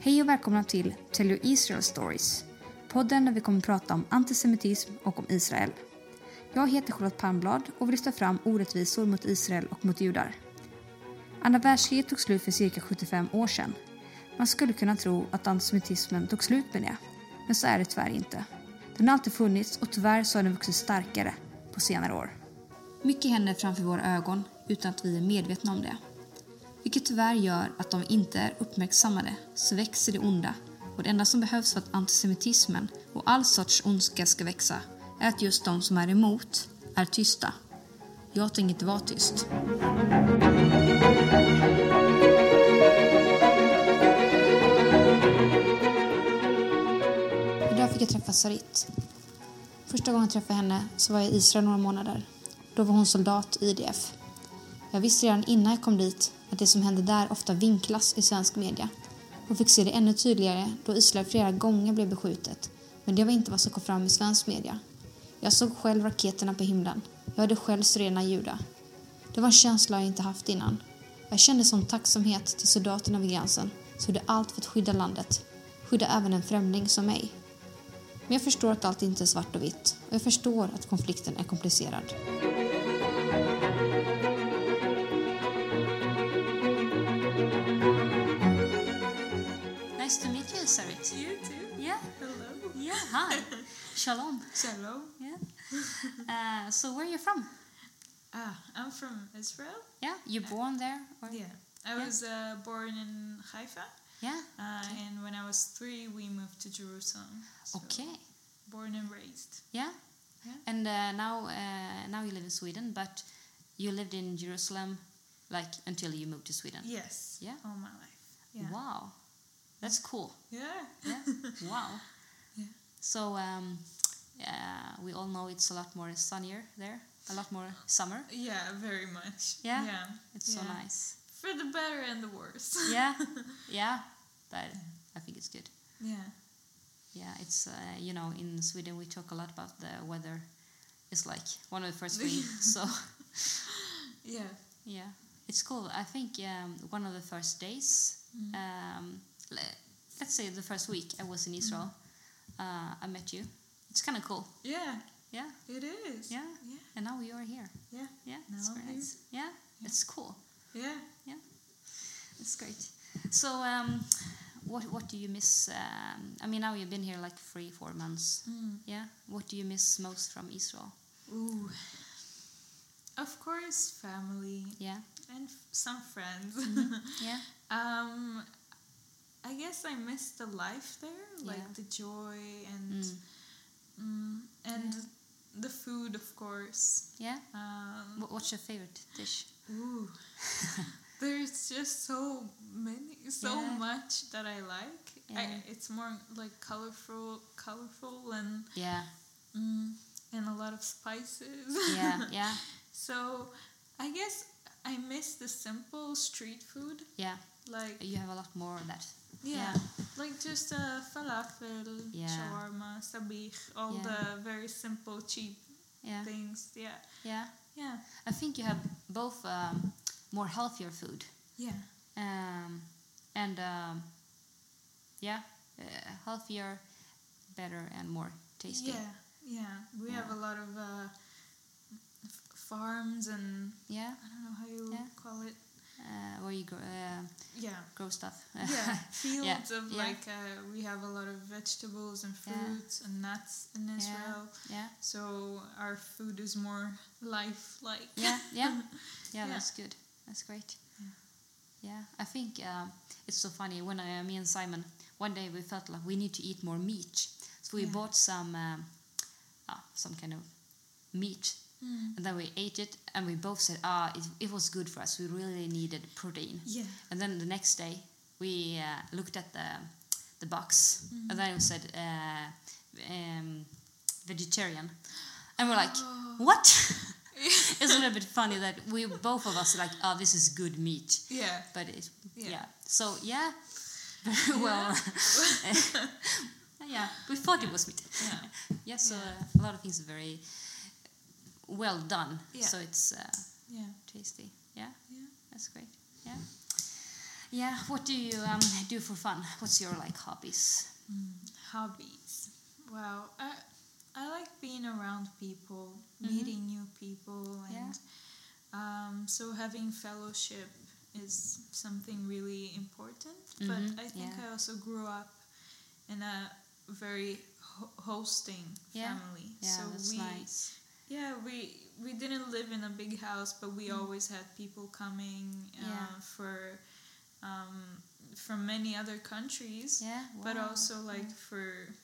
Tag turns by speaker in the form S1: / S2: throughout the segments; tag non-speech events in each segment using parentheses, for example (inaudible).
S1: Hej och välkomna till Tell Your Israel Stories. Podden där vi kommer prata om antisemitism och om Israel. Jag heter Charlotte Palmblad och vill lyfta fram orättvisor mot Israel och mot judar. Andra världskriget tog slut för cirka 75 år sedan. Man skulle kunna tro att antisemitismen tog slut med det, men så är det tyvärr inte. Den har alltid funnits och tyvärr så har den vuxit starkare på senare år. Mycket händer framför våra ögon utan att vi är medvetna om det. Vilket tyvärr gör att om vi inte är uppmärksammade så växer det onda och det enda som behövs för att antisemitismen och all sorts ondska ska växa är att just de som är emot är tysta. Jag tänker inte vara tyst. Idag fick jag träffa Sarit. Första gången jag träffade henne så var jag i Israel några månader. Då var hon soldat i IDF. Jag visste redan innan jag kom dit att det som hände där ofta vinklas i svensk media och fick se det ännu tydligare då Israel flera gånger blev beskjutet. Men det var inte vad som kom fram i svensk media. Jag såg själv raketerna på himlen. Jag hörde själv syrena ljuda. Det var en känsla jag inte haft innan. Jag kände sån tacksamhet till soldaterna vid gränsen som gjorde allt för att skydda landet. Skydda även en främling som mig. Men jag förstår att allt inte är svart och vitt och jag förstår att konflikten är komplicerad. Nice to meet you, Sarit.
S2: You too.
S1: Yeah,
S2: Hello.
S1: yeah, (laughs)
S2: (laughs)
S1: hi. Shalom.
S2: Hello.
S1: Yeah. Uh, so where are you from?
S2: Ah, I'm from Israel.
S1: Yeah, you born there? Or?
S2: Yeah. I
S1: Yeah.
S2: was uh, born in Haifa,
S1: Yeah.
S2: uh,
S1: Okay.
S2: and when I was three, we moved to Jerusalem. So
S1: Okay.
S2: Born and raised.
S1: Yeah.
S2: Yeah.
S1: And uh, now, uh, now you live in Sweden, but you lived in Jerusalem, like until you moved to Sweden.
S2: Yes.
S1: Uh, Yeah.
S2: All my life. Yeah.
S1: Wow, that's cool.
S2: (laughs) Yeah.
S1: Yeah. wow.
S2: Yeah.
S1: So um, uh, we all know it's a lot more sunnier there, a lot more summer.
S2: Yeah. Very much.
S1: Yeah.
S2: Yeah.
S1: It's so
S2: Yeah.
S1: nice.
S2: For the better and the worse. (laughs)
S1: Yeah. yeah. But I think it's good.
S2: yeah.
S1: Yeah, it's uh, you know in Sweden we talk a lot about the weather. It's like one of the first
S2: (laughs)
S1: things. so
S2: Yeah.
S1: yeah, it's cool. I think um, one of the first days,
S2: Mhm.
S1: um, le- let's say the first week I was in Israel,
S2: Mm-hmm.
S1: uh, I met you. It's kind of cool.
S2: Yeah.
S1: Yeah,
S2: It is.
S1: Yeah.
S2: Yeah.
S1: and now you are here.
S2: Yeah.
S1: Yeah, it's
S2: Now
S1: very
S2: I'm here.
S1: nice. Yeah, it's cool.
S2: Yeah.
S1: It's great. So um, what what do you miss? Um, I mean, now you've been here like three four months.
S2: Mm.
S1: Yeah, what do you miss most from Israel?
S2: Ooh. Of course, family
S1: Yeah,
S2: and f- some friends.
S1: Mm-hmm.
S2: (laughs)
S1: yeah,
S2: Um, I guess I missed the life there, like
S1: Yeah.
S2: the joy and
S1: Mm.
S2: mm, and
S1: Yeah.
S2: the food, of course.
S1: yeah.
S2: Um,
S1: Wh- What's your favorite dish? (laughs)
S2: ooh, there's just so many, so
S1: Yeah.
S2: much that I like.
S1: Yeah.
S2: I, it's more like colorful, colorful and
S1: Yeah,
S2: mm, and a lot of spices. (laughs)
S1: yeah, yeah,
S2: so, I guess I miss the simple street food,
S1: yeah.
S2: like
S1: You have a lot more of that.
S2: Yeah.
S1: Yeah.
S2: Like just uh, falafel,
S1: Yeah.
S2: shawarma, sabich, all
S1: Yeah.
S2: the very simple, cheap
S1: Yeah,
S2: things. Yeah.
S1: yeah.
S2: Yeah.
S1: I think you have both um, more healthier food
S2: Yeah.
S1: um, and um, yeah, uh, healthier, better, and more tasty.
S2: Yeah. Yeah. We have
S1: Yeah.
S2: a lot of uh, f- farms and
S1: Yeah,
S2: I don't know how you
S1: Yeah.
S2: call it.
S1: uh, where you grow, uh, (laughs)
S2: Yeah.
S1: grow stuff.
S2: Yeah. Fields of
S1: Yeah.
S2: like, uh, we have a lot of vegetables and
S1: Yeah.
S2: fruits and nuts in
S1: Yeah.
S2: Israel.
S1: yeah,
S2: So our food is more lifelike.
S1: yeah,
S2: (laughs)
S1: yeah, yeah.
S2: Yeah.
S1: That's good. That's great.
S2: Yeah.
S1: Yeah, I think um, it's so funny. When I, me and Simon, one day we felt like we need to eat more meat, so we
S2: Yeah.
S1: bought some, um, ah, some kind of meat,
S2: Mm.
S1: and then we ate it, and we both said, ah, it, it was good for us. We really needed protein.
S2: Yeah.
S1: And then the next day, we uh, looked at the the box, and then it said uh, um, vegetarian, and we're like,
S2: Oh.
S1: what?
S2: (laughs)
S1: it's a little bit funny that we both of us are like, oh, this is good meat,
S2: Yeah.
S1: but it, yeah.
S2: Yeah.
S1: So yeah, (laughs)
S2: (laughs)
S1: well, yeah, we thought it was meat.
S2: Yeah.
S1: Yeah, so
S2: Yeah.
S1: Uh, a lot of things are very well done.
S2: Yeah.
S1: So it's. Uh,
S2: Yeah.
S1: tasty. Yeah.
S2: Yeah.
S1: That's great. Yeah. Yeah, what do you um, do for fun? What's your like hobbies?
S2: Hobbies. Well, I, I like being around people, meeting new people,
S1: Mm-hmm. Yeah.
S2: and um, so having fellowship is something really important.
S1: Mhm,
S2: But I think
S1: yeah.
S2: I also grew up in a very ho- hosting
S1: Yeah.
S2: family.
S1: Yeah,
S2: so
S1: that's
S2: we,
S1: nice.
S2: Yeah, we we didn't live in a big house, but we always had people coming uh,
S1: Mm-hmm. Yeah.
S2: for um, from many other countries.
S1: Yeah,
S2: But
S1: wow.
S2: also like for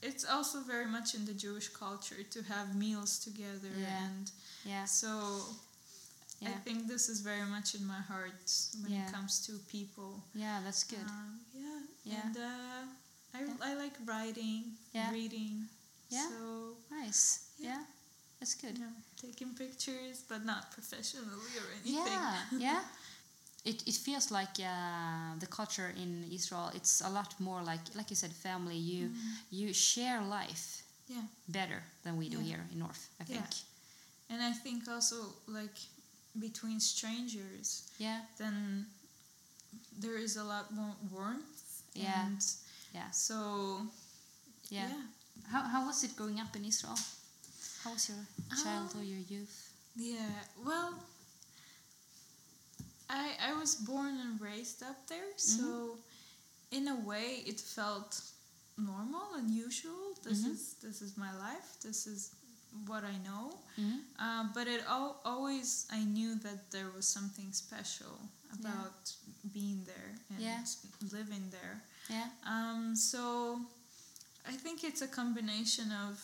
S2: it's also very much in the Jewish culture to have meals together
S1: Yeah.
S2: and
S1: yeah,
S2: so I
S1: Yeah.
S2: think this is very much in my heart when
S1: Yeah.
S2: it comes to people.
S1: yeah, that's good.
S2: Um, yeah.
S1: Yeah.
S2: And uh, I, I like writing,
S1: Yeah.
S2: reading.
S1: Yeah.
S2: So
S1: nice. Yeah.
S2: yeah.
S1: that's good.
S2: you know, taking pictures, but not professionally or anything. (laughs)
S1: Yeah, yeah. It, it feels like uh, the culture in Israel. It's a lot more like like you said, family. You
S2: Mm.
S1: you share life
S2: Mm-hmm. Yeah.
S1: better than we do
S2: Yeah.
S1: here in North. I
S2: Yeah.
S1: think.
S2: And I think also like between strangers,
S1: Yeah,
S2: then there is a lot more warmth.
S1: Yeah.
S2: And
S1: yeah,
S2: so
S1: yeah.
S2: yeah.
S1: How how was it growing up in Israel? How was your childhood,
S2: Um,
S1: your youth?
S2: Yeah, well, I I was born and raised up there,
S1: Mm-hmm.
S2: so in a way it felt normal and usual. This
S1: Mhm.
S2: is this is my life. This is what I know.
S1: Mm-hmm.
S2: Uh, but it al- always I knew that there was something special about being there and
S1: Yeah.
S2: living there.
S1: Yeah.
S2: Um, so I think it's a combination of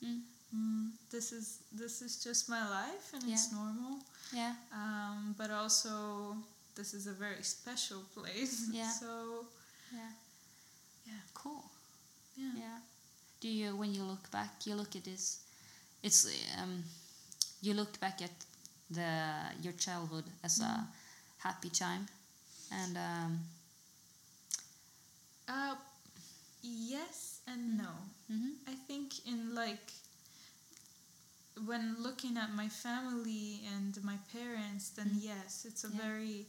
S1: Mm.
S2: mm, this is this is just my life and it's normal
S1: Yeah.
S2: um, but also this is a very special place (laughs)
S1: Yeah.
S2: so
S1: Yeah.
S2: Yeah.
S1: Cool.
S2: yeah
S1: Yeah. Do you when you look back, you look at this? It's um, you look back at the your childhood as a happy time, and um,
S2: uh, yes and no
S1: mhm,
S2: i think in like when looking at my family and my parents then
S1: Mm.
S2: yes it's a
S1: Yeah.
S2: very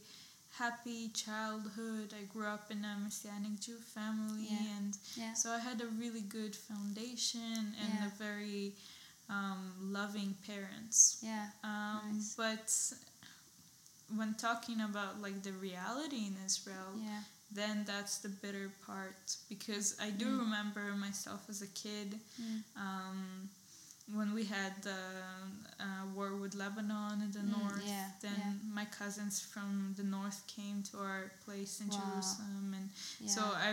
S2: happy childhood i grew up in a messianic jew family
S1: Yeah.
S2: and
S1: yeah,
S2: So I had a really good foundation and
S1: Yeah.
S2: a very um, loving parents.
S1: yeah,
S2: Um,
S1: Nice.
S2: But when talking about like the reality in Israel,
S1: yeah,
S2: then that's the bitter part because I do
S1: Mm.
S2: remember myself as a kid
S1: mm,
S2: um, when we had the uh, war with Lebanon in the
S1: Mm,
S2: north.
S1: yeah,
S2: then
S1: yeah.
S2: my cousins from the north came to our place in
S1: Wow.
S2: Jerusalem and
S1: yeah.
S2: so I,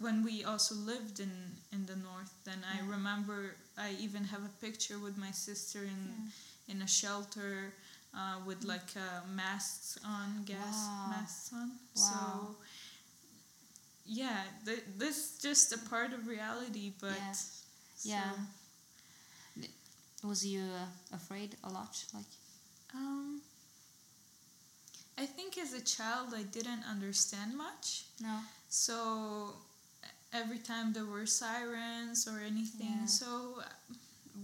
S2: when we also lived in in the north, then I
S1: Yeah.
S2: remember I even have a picture with my sister in
S1: yeah. Mm.
S2: in a shelter uh, with like uh, masks on, gas
S1: Wow.
S2: masks on.
S1: Wow.
S2: So yeah, th- this just a part of reality, but
S1: Yeah.
S2: so,
S1: Yeah. Was you uh, afraid a lot? Like,
S2: Um, I think as a child I didn't understand much.
S1: no,
S2: So every time there were sirens or anything,
S1: Yeah.
S2: so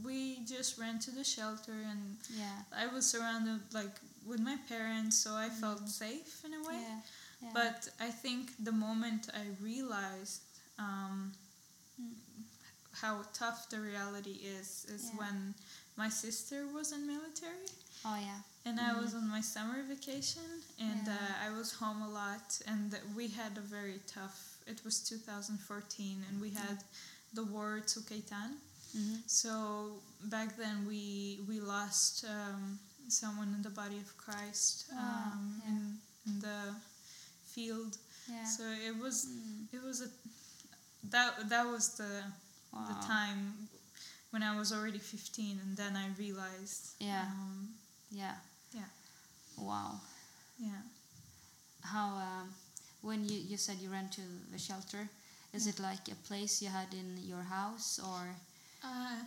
S2: we just ran to the shelter and
S1: yeah,
S2: I was surrounded like with my parents, so I felt safe in a way.
S1: Mm-hmm. yeah, yeah,
S2: But I think the moment I realized um,
S1: Mm.
S2: how tough the reality is is
S1: Yeah.
S2: when my sister was in military
S1: oh yeah,
S2: and I was on my summer vacation, and
S1: Yeah.
S2: uh, I was home a lot, and we had a very tough. It was 2014, and we had the war to Kaitan.
S1: mm-hmm.
S2: So back then, we we lost um, someone in the body of Christ
S1: Wow,
S2: um,
S1: Oh, yeah.
S2: in, in the field.
S1: yeah.
S2: So it was
S1: mm,
S2: it was a that that was the
S1: wow.
S2: the time when I was already 15, and then I realized.
S1: Yeah.
S2: Um,
S1: yeah,
S2: Yeah.
S1: Wow.
S2: yeah.
S1: how um, when you, you said you ran to the shelter is
S2: Yeah.
S1: it like a place you had in your house or
S2: Uh,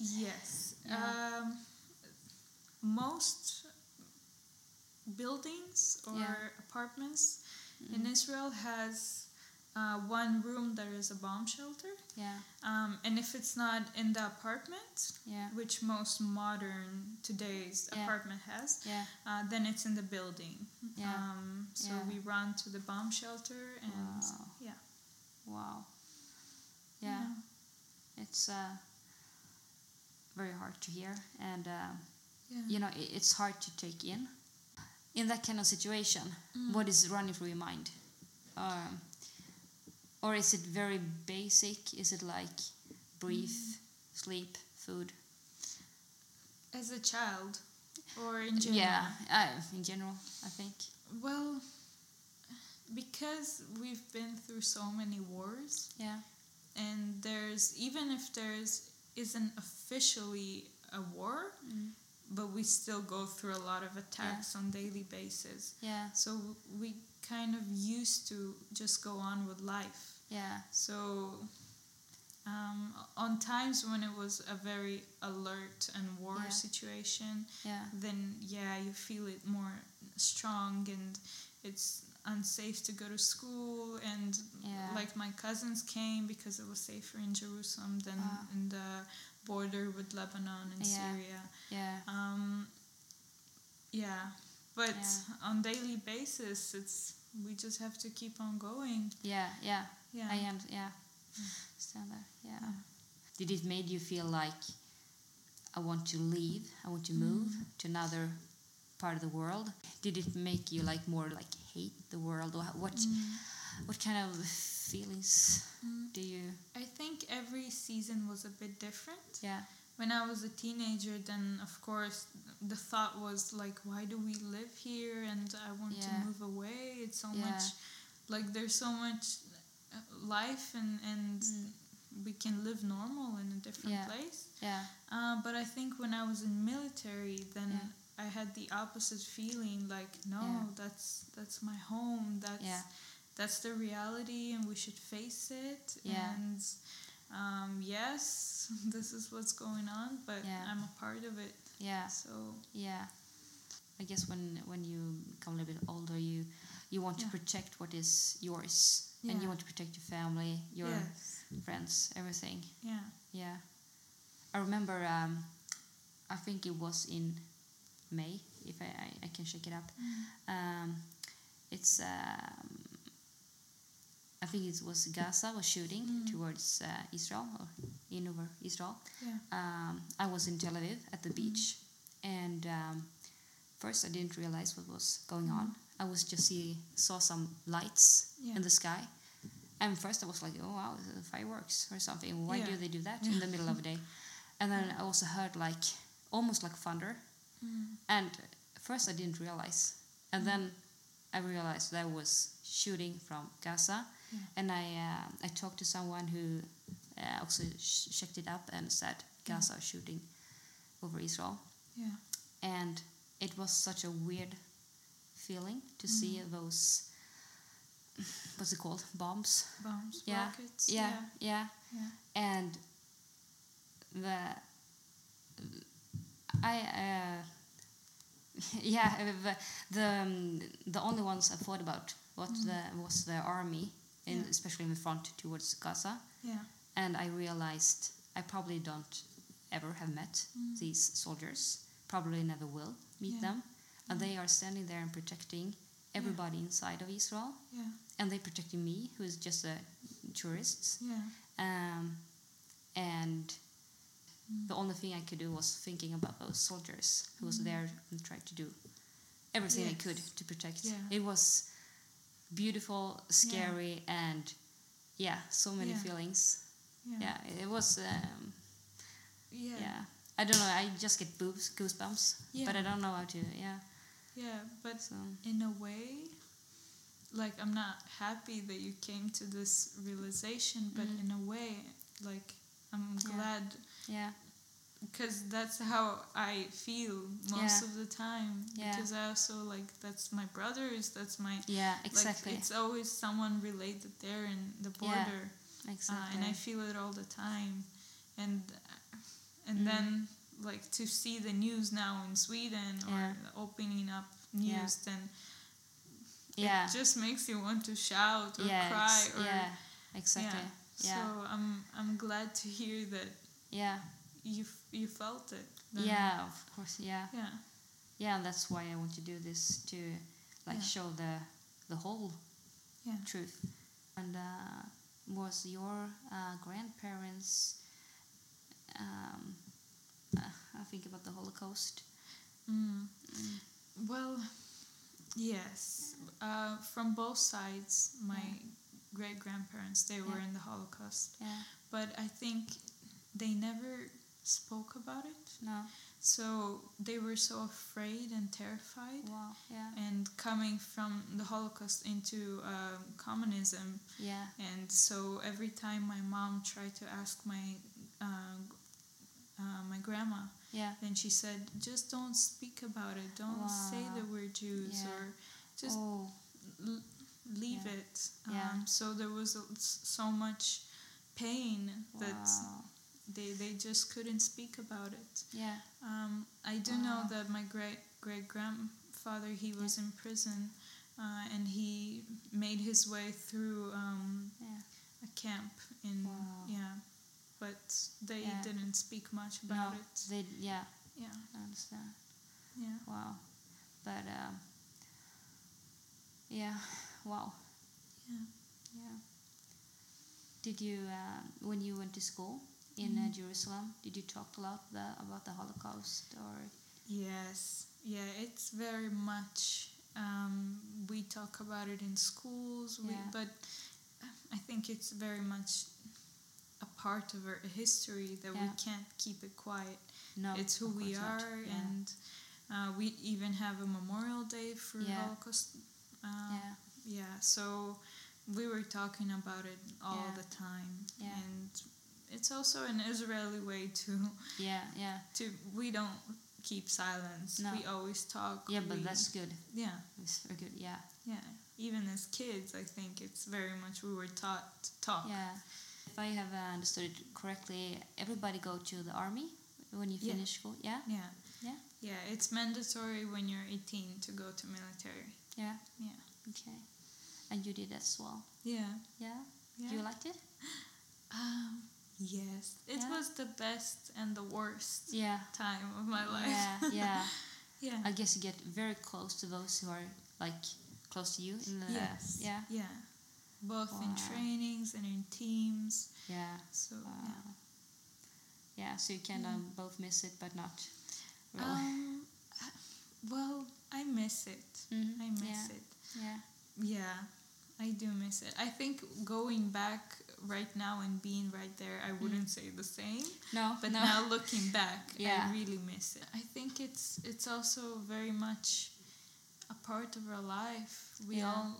S2: yes.
S1: Yeah.
S2: Um, most buildings or
S1: Yeah. Mm-hmm.
S2: apartments in Israel has uh, one room there is a bomb shelter.
S1: Yeah,
S2: Um, and if it's not in the apartment,
S1: yeah,
S2: which most modern today's
S1: Yeah.
S2: apartment has,
S1: yeah.
S2: uh, then it's in the building.
S1: Yeah.
S2: Um, so
S1: Yeah.
S2: we run to the bomb shelter and
S1: Wow.
S2: yeah.
S1: Wow. Yeah, it's uh, very hard to hear, and uh,
S2: Yeah.
S1: you know i it's hard to take in. In that kind of situation,
S2: Mm.
S1: what is running through your mind? Um, or is it very basic? Is it like breathe,
S2: Mm.
S1: sleep, food?
S2: As a child or in general?
S1: Yeah, uh, in general, I think.
S2: Well, because we've been through so many wars,
S1: Yeah,
S2: and there's even if there's isn't officially a war, but we still go through a lot of attacks on daily basis.
S1: yeah,
S2: So we kind of used to just go on with life.
S1: yeah,
S2: So um, on times when it was a very alert and war
S1: Yeah.
S2: situation,
S1: yeah,
S2: then yeah, you feel it more strong and it's unsafe to go to school and
S1: Yeah.
S2: like my cousins came because it was safer in Jerusalem than
S1: Ah.
S2: in the border with Lebanon and
S1: Yeah.
S2: Syria.
S1: yeah,
S2: Um, yeah, but
S1: Yeah.
S2: on daily basis, it's we just have to keep on going.
S1: yeah, yeah.
S2: Yeah.
S1: I am, yeah. Stand there, yeah. Did it made you feel like I want to leave, I want to move
S2: Mm.
S1: to another part of the world? Did it make you like more like hate the world, or what?
S2: Mm.
S1: What kind of feelings do you?
S2: I think every season was a bit different.
S1: Yeah,
S2: When I was a teenager, then of course the thought was like, why do we live here? And I want
S1: Yeah.
S2: to move away. It's so
S1: Yeah.
S2: much, like there's so much uh, life, and and we can live normal in a different
S1: Mm. Yeah.
S2: place.
S1: yeah,
S2: Uh, but I think when I was in military, then
S1: Yeah.
S2: I had the opposite feeling. Like, no,
S1: Yeah.
S2: that's that's my home. That's
S1: Yeah.
S2: that's the reality, and we should face it.
S1: Yeah.
S2: And um, yes, (laughs) this is what's going on, but
S1: Yeah. Ah,
S2: I'm a part of it.
S1: yeah,
S2: So
S1: yeah. I guess when when you become a little bit older, you you want to
S2: Yeah.
S1: protect what is yours, and
S2: Yeah.
S1: you want to protect your family, your
S2: yes,
S1: friends, everything.
S2: yeah,
S1: Yeah. I remember, um, I think it was in May, if I, I, I can check it up. Um, it's, um, I think it was Gaza was shooting
S2: Mm.
S1: towards uh, Israel or in over Israel.
S2: yeah,
S1: Um, I was in Tel Aviv at the beach, and um, first I didn't realize what was going on. I was just see saw some lights
S2: Yeah.
S1: in the sky, and first I was like, "Oh wow, it's, uh, fireworks or something." Why do
S2: Yeah.
S1: they do
S2: (laughs)
S1: that in the middle of the day? And then I also heard like almost like thunder,
S2: Mm.
S1: and first I didn't realize, and then I realized that was shooting from Gaza,
S2: Yeah.
S1: and I uh, I talked to someone who uh, also sh- checked it up and said Gaza shooting over Israel,
S2: yeah,
S1: and it was such a weird feeling to see those what's it called bombs
S2: bombs,
S1: Yeah.
S2: rockets,
S1: yeah yeah
S2: yeah,
S1: and the I uh, (laughs) yeah the the, um, the only ones I thought about what the was the army in
S2: Mm. Yeah.
S1: especially in the front towards Gaza
S2: yeah,
S1: and I realized I probably don't ever have met these soldiers probably never will meet
S2: Mm. Yeah.
S1: them and they are standing there and protecting everybody inside of Israel
S2: Mm. yeah,
S1: and they protecting me who is just a tourist
S2: yeah,
S1: um, and the only thing I could do was thinking about those soldiers who was there and tried to do everything they could
S2: Mm-hmm. Yes.
S1: to protect.
S2: Yeah.
S1: It was beautiful, scary, and yeah, so many
S2: Yeah.
S1: feelings.
S2: Mm. yeah,
S1: Yeah, it was. Um,
S2: yeah.
S1: yeah. I don't know. I just get boobs, goosebumps, but
S2: Yeah.
S1: I don't know how to. Yeah,
S2: yeah. But
S1: so
S2: in a way like i'm not happy that you came to this realization but in a way like i'm
S1: Mm-hmm. Yeah.
S2: glad
S1: yeah,
S2: because that's how i feel most
S1: Yeah.
S2: of the time
S1: Yeah.
S2: because i also like that's my brothers that's my
S1: yeah,
S2: like,
S1: exactly,
S2: it's always someone related there in the border
S1: Yeah,
S2: uh,
S1: exactly.
S2: and i feel it all the time and uh, and
S1: Mm.
S2: then like to see the news now in sweden or
S1: Yeah.
S2: opening up news
S1: Yeah.
S2: then It just makes you want to shout or
S1: yeah,
S2: cry
S1: ex-
S2: or
S1: yeah, exactly. Yeah, yeah,
S2: So I'm I'm glad to hear that
S1: yeah,
S2: you f- you felt it. then.
S1: yeah. Of course, yeah,
S2: Yeah.
S1: yeah. And that's why I want to do this to, like,
S2: Yeah.
S1: show the the whole
S2: Yeah.
S1: truth. And uh, was your uh, grandparents? Um, uh, I think about the Holocaust.
S2: Mm. Well, yes. Uh, from both sides, my great grandparents they were
S1: Yeah.
S2: in the Holocaust,
S1: Yeah.
S2: but I think they never spoke about it.
S1: No.
S2: So they were so afraid and terrified.
S1: Wow. Yeah.
S2: And coming from the Holocaust into um, communism,
S1: Yeah.
S2: And so every time my mom tried to ask my uh, uh, my grandma,
S1: Yeah.
S2: then she said, "Just don't speak about it. Don't say
S1: Wow.
S2: that we're Jews
S1: Yeah.
S2: or just
S1: oh.
S2: l- leave
S1: Yeah.
S2: it." Um,
S1: Yeah.
S2: So there was a- s- so much pain that
S1: Wow.
S2: they they just couldn't speak about it.
S1: Yeah.
S2: Um, I do know
S1: Wow.
S2: that my great great grandfather he was in prison, uh, and he made his way through. Um,
S1: Yeah.
S2: a camp in
S1: Wow.
S2: yeah but they
S1: Yeah.
S2: didn't speak much
S1: No.
S2: about it
S1: They. Yeah.
S2: yeah
S1: I understand.
S2: yeah
S1: Wow. But um, yeah, wow.
S2: Yeah.
S1: Yeah. Did you uh, when you went to school in uh,
S2: Mm-hmm.
S1: Jerusalem? Did you talk a lot the, about the Holocaust or
S2: yes yeah it's very much um, we talk about it in schools we,
S1: Yeah.
S2: but i think it's very much a part of our history that we
S1: Yeah.
S2: can't keep it quiet
S1: no?
S2: it's who
S1: of
S2: we
S1: course not.
S2: are
S1: Yeah.
S2: and uh, we even have a memorial day for
S1: Yeah.
S2: holocaust uh,
S1: yeah,
S2: Yeah, so we were talking about it all
S1: Yeah.
S2: the time.
S1: Yeah.
S2: And it's also an Israeli way to
S1: yeah, yeah,
S2: to we don't keep silence.
S1: No.
S2: We always talk.
S1: yeah. But
S2: we-
S1: that's good.
S2: yeah,
S1: That's very good. Yeah,
S2: yeah. Even as kids, I think it's very much we were taught to talk.
S1: yeah. If I have uh, understood it correctly, everybody go to the army when you
S2: Yeah.
S1: finish school. Yeah,
S2: Yeah.
S1: Yeah.
S2: Yeah, it's mandatory when you're 18 to go to military.
S1: yeah,
S2: Yeah.
S1: okay. And you did as well.
S2: Yeah.
S1: Yeah,
S2: Yeah.
S1: you liked it.
S2: um, yes. It
S1: Yeah.
S2: was the best and the worst
S1: Yeah.
S2: time of my (laughs) life.
S1: Yeah, yeah.
S2: yeah.
S1: I guess you get very close to those who are like close to you. In the,
S2: Yes.
S1: Yeah.
S2: Yeah. Both
S1: Wow.
S2: in trainings and in teams.
S1: Yeah.
S2: So
S1: Wow. Yeah. So you can
S2: Mm.
S1: um, both miss it, but not.
S2: yeah.
S1: Really. (laughs)
S2: Um, well, I miss it.
S1: Mhm,
S2: I miss
S1: yeah.
S2: it.
S1: Yeah.
S2: Yeah, I do miss it. I think going back right now and being right there,
S1: Mm.
S2: I wouldn't say the same.
S1: No.
S2: But
S1: no.
S2: now looking back,
S1: Yeah.
S2: I really miss it. I think it's it's also very much a part of our life. We
S1: Yeah.
S2: all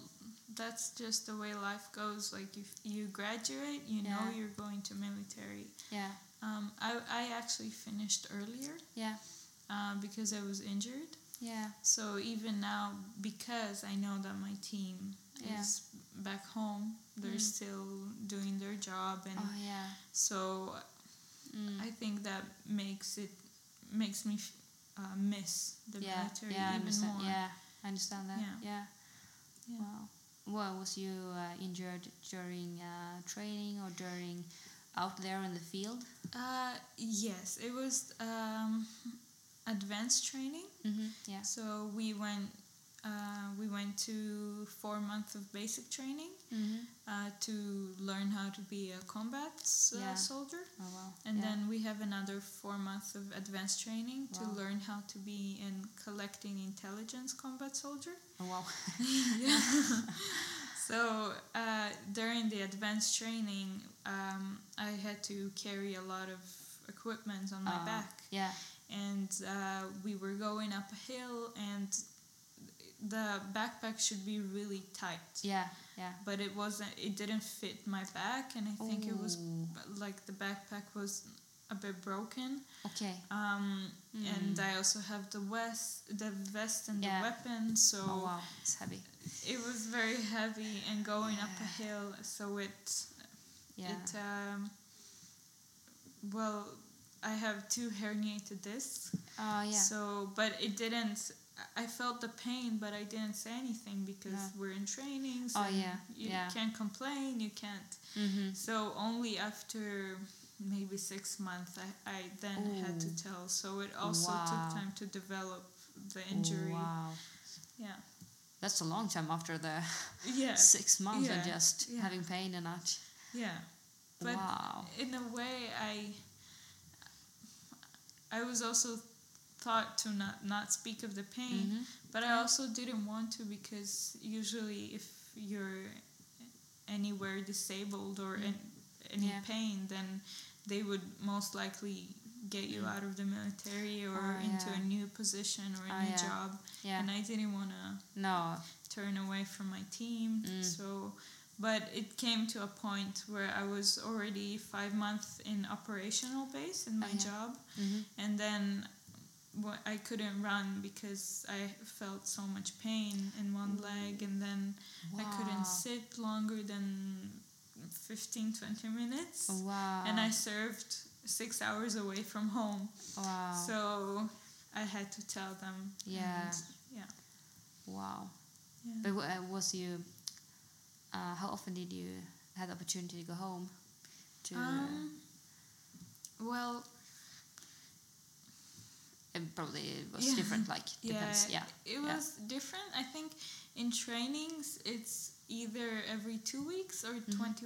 S2: that's just the way life goes. Like you you graduate, you know
S1: Yeah.
S2: you're going to military.
S1: (laughs) Yeah.
S2: Um, I I actually finished earlier
S1: Yeah.
S2: uh, because I was injured.
S1: Yeah.
S2: So even now, because I know that my team
S1: Yeah.
S2: is back home, they're
S1: Mm.
S2: still doing their job, and
S1: Oh yeah.
S2: so
S1: Mm.
S2: I think that makes it makes me f- uh, miss the
S1: yeah.
S2: military
S1: yeah. I
S2: even
S1: understand.
S2: more.
S1: Yeah. I understand that.
S2: Yeah.
S1: Yeah.
S2: Yeah.
S1: Wow. Well, was you uh, injured during uh, training or during out there in the field?
S2: Uh, yes, it was um, advanced training.
S1: Mm-hmm. Yeah.
S2: So we went uh, we went to four months of basic training.
S1: Mm-hmm.
S2: uh, to learn how to be a combat uh,
S1: Yeah.
S2: soldier.
S1: Oh wow.
S2: And
S1: yeah.
S2: then we have another four months of advanced training
S1: Wow.
S2: to learn how to be in collecting intelligence combat soldier.
S1: Oh wow.
S2: (laughs) So uh, during the advanced training, um, I had to carry a lot of equipment on my
S1: Oh,
S2: back,
S1: Yeah.
S2: and uh, we were going up a hill, and the backpack should be really tight.
S1: Yeah. Yeah.
S2: But it wasn't. It didn't fit my back, and I think it was
S1: Ooh.
S2: but, like the backpack was a bit broken
S1: Okay. Mm.
S2: um, and i also have the vest the vest and
S1: Yeah.
S2: the weapon so
S1: Oh wow, it's heavy.
S2: it was very heavy and going up a hill so it
S1: Yeah.
S2: it um, well i have two herniated discs
S1: Oh yeah.
S2: so but it didn't I- I felt the pain, but I didn't say anything because
S1: Yeah.
S2: we're in trainings.
S1: Oh,
S2: and
S1: yeah,
S2: You
S1: yeah.
S2: can't complain. You can't.
S1: Mm-hmm.
S2: So only after maybe six months, I, I then had
S1: Ooh.
S2: to tell. So it also
S1: Wow.
S2: took time to develop the injury.
S1: Oh, Wow.
S2: Yeah.
S1: That's a long time after the
S2: (laughs) Yeah.
S1: (laughs) six months of
S2: Yeah.
S1: just
S2: Yeah.
S1: having pain and not.
S2: Yeah. But
S1: wow.
S2: in a way, I I was also taught to not not speak of the pain,
S1: Mhm.
S2: but I also didn't want to because usually if you're anywhere disabled or in any
S1: Mm-hmm. Yeah.
S2: pain, then they would most likely get you out of the military or
S1: Mm-hmm. Oh,
S2: into
S1: yeah.
S2: a new position or a
S1: Oh,
S2: new
S1: yeah.
S2: job,
S1: Yeah.
S2: and I didn't want to
S1: no.
S2: turn away from my team.
S1: Mm.
S2: So, but it came to a point where I was already five months in operational base in my
S1: Oh, yeah.
S2: job,
S1: Mhm.
S2: and then wha- I couldn't run because I felt so much pain in one leg, and then I
S1: Wow.
S2: couldn't sit longer than 15 20 minutes.
S1: Oh, Wow.
S2: And I served six hours away from home,
S1: Wow.
S2: so I had to tell them.
S1: Yeah.
S2: and yeah,
S1: wow.
S2: yeah.
S1: But wa- uh, was you? Uh, how often did you have the opportunity to go home? To
S2: Um, well,
S1: it probably was
S2: yeah.
S1: different. Like
S2: (laughs) Yeah,
S1: depends. Yeah.
S2: it
S1: yeah.
S2: was different. I think in trainings it's either every two weeks or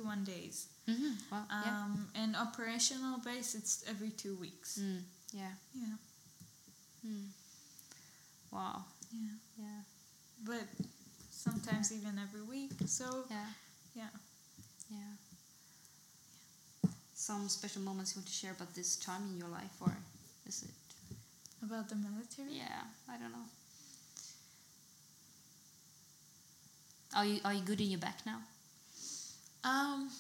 S2: one days.
S1: hmm Wow. Mm-hmm. yeah.
S2: Um, and operational base it's every two weeks.
S1: Mm. Yeah.
S2: Yeah,
S1: Mm. Wow.
S2: yeah.
S1: Yeah.
S2: But sometimes even every week. So
S1: Yeah.
S2: yeah.
S1: Yeah. Some special moments you want to share about this time in your life, or is it?
S2: About the military.
S1: Yeah, I don't know. Are you are you good in your back now?
S2: Um,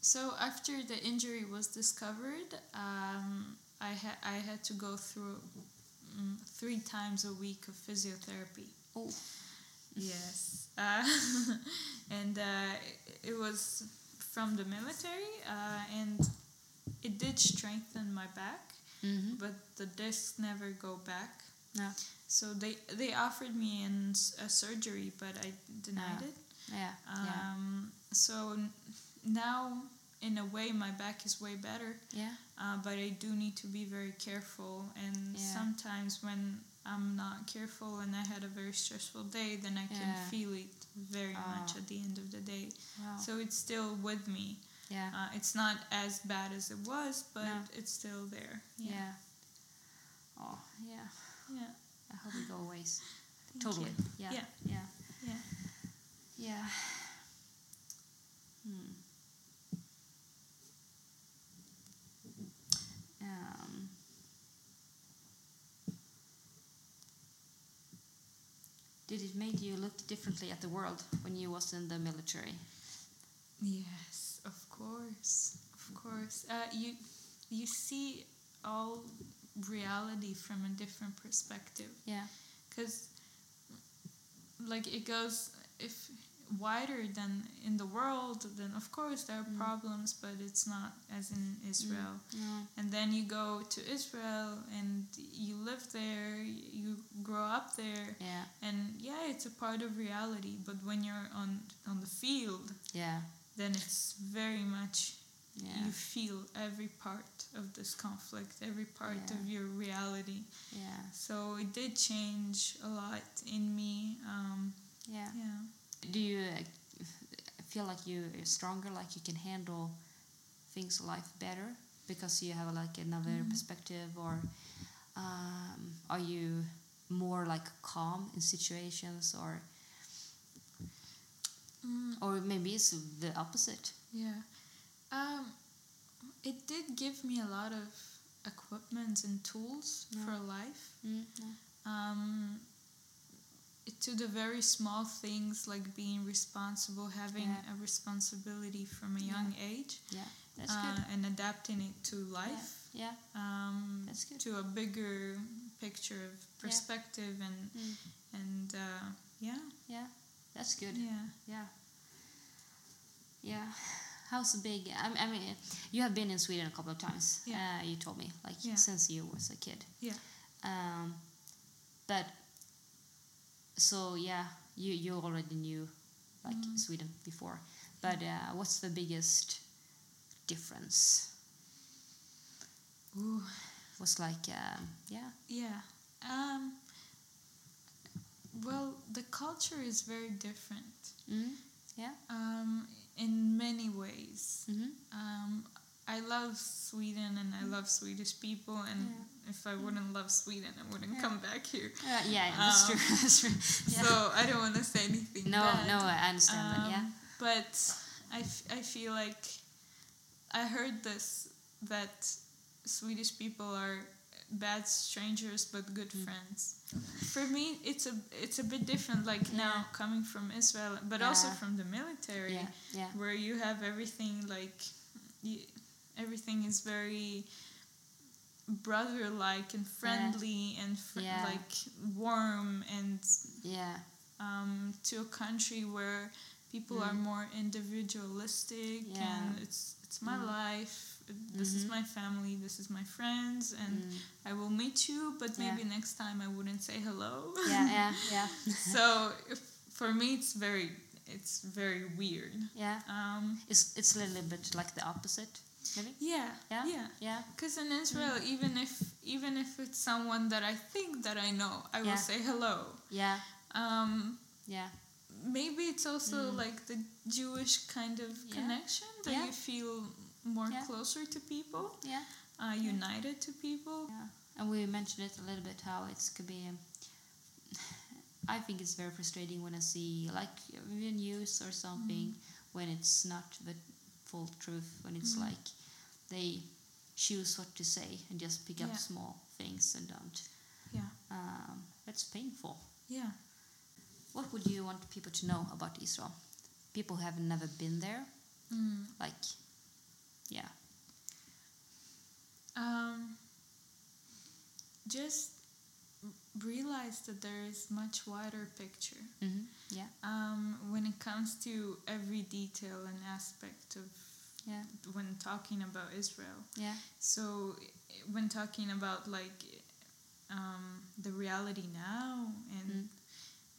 S2: so after the injury was discovered, um, I had I had to go through mm, three times a week of physiotherapy.
S1: Oh,
S2: Yes. Uh, (laughs) and uh, it was from the military, uh, and it did strengthen my back,
S1: mm-hmm.
S2: but the discs never go back.
S1: no,
S2: So they, they offered me an, s- a surgery, but I denied
S1: Ah,
S2: it.
S1: yeah, yeah,
S2: Um, so n- now, in a way, my back is way better
S1: yeah,
S2: uh, but I do need to be very careful. And
S1: Yeah.
S2: sometimes when I'm not careful and I had a very stressful day, then I can
S1: Yeah.
S2: feel it very much
S1: Ah.
S2: at the end of the day.
S1: wow,
S2: So it's still with me.
S1: yeah,
S2: Uh, it's not as bad as it was, but
S1: No.
S2: it's still there.
S1: yeah. Oh, yeah.
S2: Yeah.
S1: I hope it go away.
S2: Thank
S1: Totally.
S2: you.
S1: Yeah.
S2: Yeah.
S1: Yeah.
S2: Yeah.
S1: Yeah. Hmm. Um. Did it make you look differently at the world when you was in the military?
S2: Yes, of course, of course. Uh, you you see all reality from a different perspective.
S1: Yeah.
S2: because like it goes if wider than in the world then of course there are
S1: Mm.
S2: problems but it's not as in israel
S1: No.
S2: and then you go to israel and you live there you grow up there
S1: Yeah.
S2: and yeah it's a part of reality but when you're on on the field
S1: Yeah.
S2: then it's very much
S1: Yeah.
S2: you feel every part of this conflict every part
S1: Yeah.
S2: of your reality
S1: Yeah.
S2: so it did change a lot in me. Um,
S1: Yeah.
S2: yeah.
S1: Do you uh, f- feel like you are stronger, like you can handle things in life better because you have like another perspective, or um, are you more like calm in situations, or or maybe it's the opposite?
S2: Mm, yeah. Um, it did give me a lot of equipment and tools
S1: Yeah.
S2: for life.
S1: Mm,
S2: Um, it- to the very small things like being responsible, having
S1: Yeah.
S2: a responsibility from a
S1: Yeah.
S2: young age,
S1: Yeah, that's
S2: uh,
S1: good.
S2: and adapting it to life.
S1: Yeah,
S2: Um,
S1: That's good.
S2: To a bigger picture of perspective and
S1: Mm.
S2: and uh, yeah,
S1: yeah, that's good.
S2: yeah.
S1: Yeah. Yeah. How's big? I, I mean, you have been in Sweden a couple of times.
S2: Yeah.
S1: Uh, you told me, like
S2: Yeah.
S1: since you was a kid.
S2: Yeah.
S1: Um, but so yeah, you you already knew like
S2: Mm.
S1: Sweden before, but uh, what's the biggest difference?
S2: Ooh.
S1: Was like um, yeah,
S2: Yeah. Um, well, the culture is very different
S1: mm, yeah,
S2: um, in many ways.
S1: mm-hmm.
S2: Um, I love Sweden and I love Swedish people, and if I wouldn't love Sweden, I wouldn't
S1: Yeah.
S2: come back here.
S1: uh, yeah, that's
S2: Um,
S1: true. (laughs) that's true. Yeah.
S2: So I don't want to say anything.
S1: no,
S2: bad.
S1: no, I understand that. Yeah,
S2: Um, But I, f- I feel like I heard this that Swedish people are bad strangers but good
S1: Mm.
S2: friends. For me, it's a it's a bit different. Like now coming from Israel, but also
S1: Yeah.
S2: from the military,
S1: yeah, yeah,
S2: where you have everything like you, everything is very brother-like and friendly and fr-
S1: Yeah.
S2: like warm and
S1: yeah,
S2: (laughs) um, to a country where people are
S1: Mm.
S2: more individualistic
S1: Yeah.
S2: and it's it's my
S1: Mm.
S2: life this is
S1: Mhm.
S2: my family this is my friends and
S1: mm,
S2: i will meet you but
S1: Yeah.
S2: maybe next time i wouldn't say hello
S1: yeah, yeah, yeah,
S2: (laughs) so if, for me it's very it's very weird
S1: yeah.
S2: um,
S1: It's it's a little bit like the opposite, maybe.
S2: yeah
S1: Yeah, Mm.
S2: yeah
S1: yeah.
S2: because in israel even if even if it's someone that i think that i know i
S1: Yeah.
S2: will say hello
S1: Yeah,
S2: um,
S1: yeah,
S2: maybe it's also
S1: Mm.
S2: like the Jewish kind of
S1: Yeah.
S2: connection that
S1: Yeah.
S2: you feel more
S1: Yeah.
S2: closer to people,
S1: yeah,
S2: uh, united to people.
S1: yeah. And we mentioned it a little bit how it could be. Um, I think it's very frustrating when I see like the news or something
S2: Mm.
S1: when it's not the full truth. When it's
S2: Mm.
S1: like they choose what to say and just pick
S2: Yeah.
S1: up small things and don't.
S2: Yeah,
S1: Um, that's painful.
S2: yeah.
S1: What would you want people to know about Israel? People who have never been there,
S2: Mm.
S1: like, yeah,
S2: Um, just r- realize that there is much wider picture
S1: mm-hmm. yeah,
S2: um, when it comes to every detail and aspect of
S1: yeah,
S2: when talking about Israel.
S1: yeah,
S2: So, i- when talking about like um, the reality now,
S1: Mm.
S2: and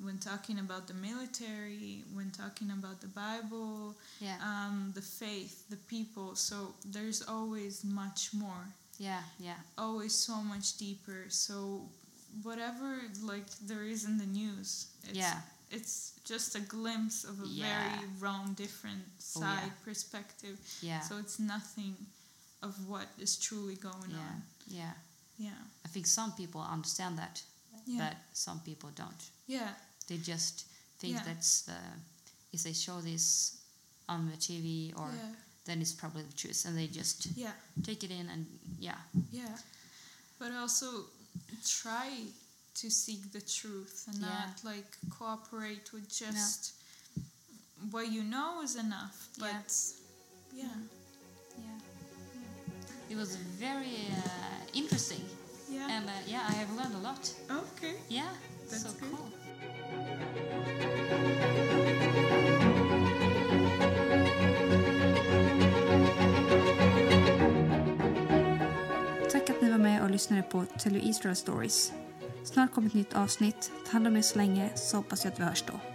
S2: when talking about the military, when talking about the Bible,
S1: yeah,
S2: um, the faith, the people, so there's always much more,
S1: yeah, yeah.
S2: always so much deeper. So, whatever like there is in the news, it's,
S1: Yeah.
S2: it's just a glimpse of a
S1: Yeah.
S2: very wrong, different
S1: Oh, yeah.
S2: side perspective.
S1: Yeah.
S2: So it's nothing of what is truly going
S1: yeah.
S2: on.
S1: Yeah.
S2: Yeah.
S1: I think some people understand that,
S2: Yeah.
S1: but some people don't.
S2: yeah.
S1: They just think
S2: Yeah.
S1: that's the if they show this on the TV or
S2: yeah.
S1: then it's probably the truth, and they just
S2: Yeah.
S1: take it in and yeah,
S2: Yeah. But also try to seek the truth and
S1: Yeah.
S2: not like cooperate with just what you know is enough. But
S1: Yeah.
S2: yeah.
S1: yeah. It was very uh, interesting,
S2: Yeah.
S1: and uh, yeah, I have learned a lot.
S2: okay.
S1: Yeah,
S2: That's
S1: so
S2: good.
S1: cool.
S3: Tack att ni var med och lyssnade på Tell You Israel Stories. Snart kommer ett nytt avsnitt. Ta hand om er så länge så hoppas jag att vi hörs då.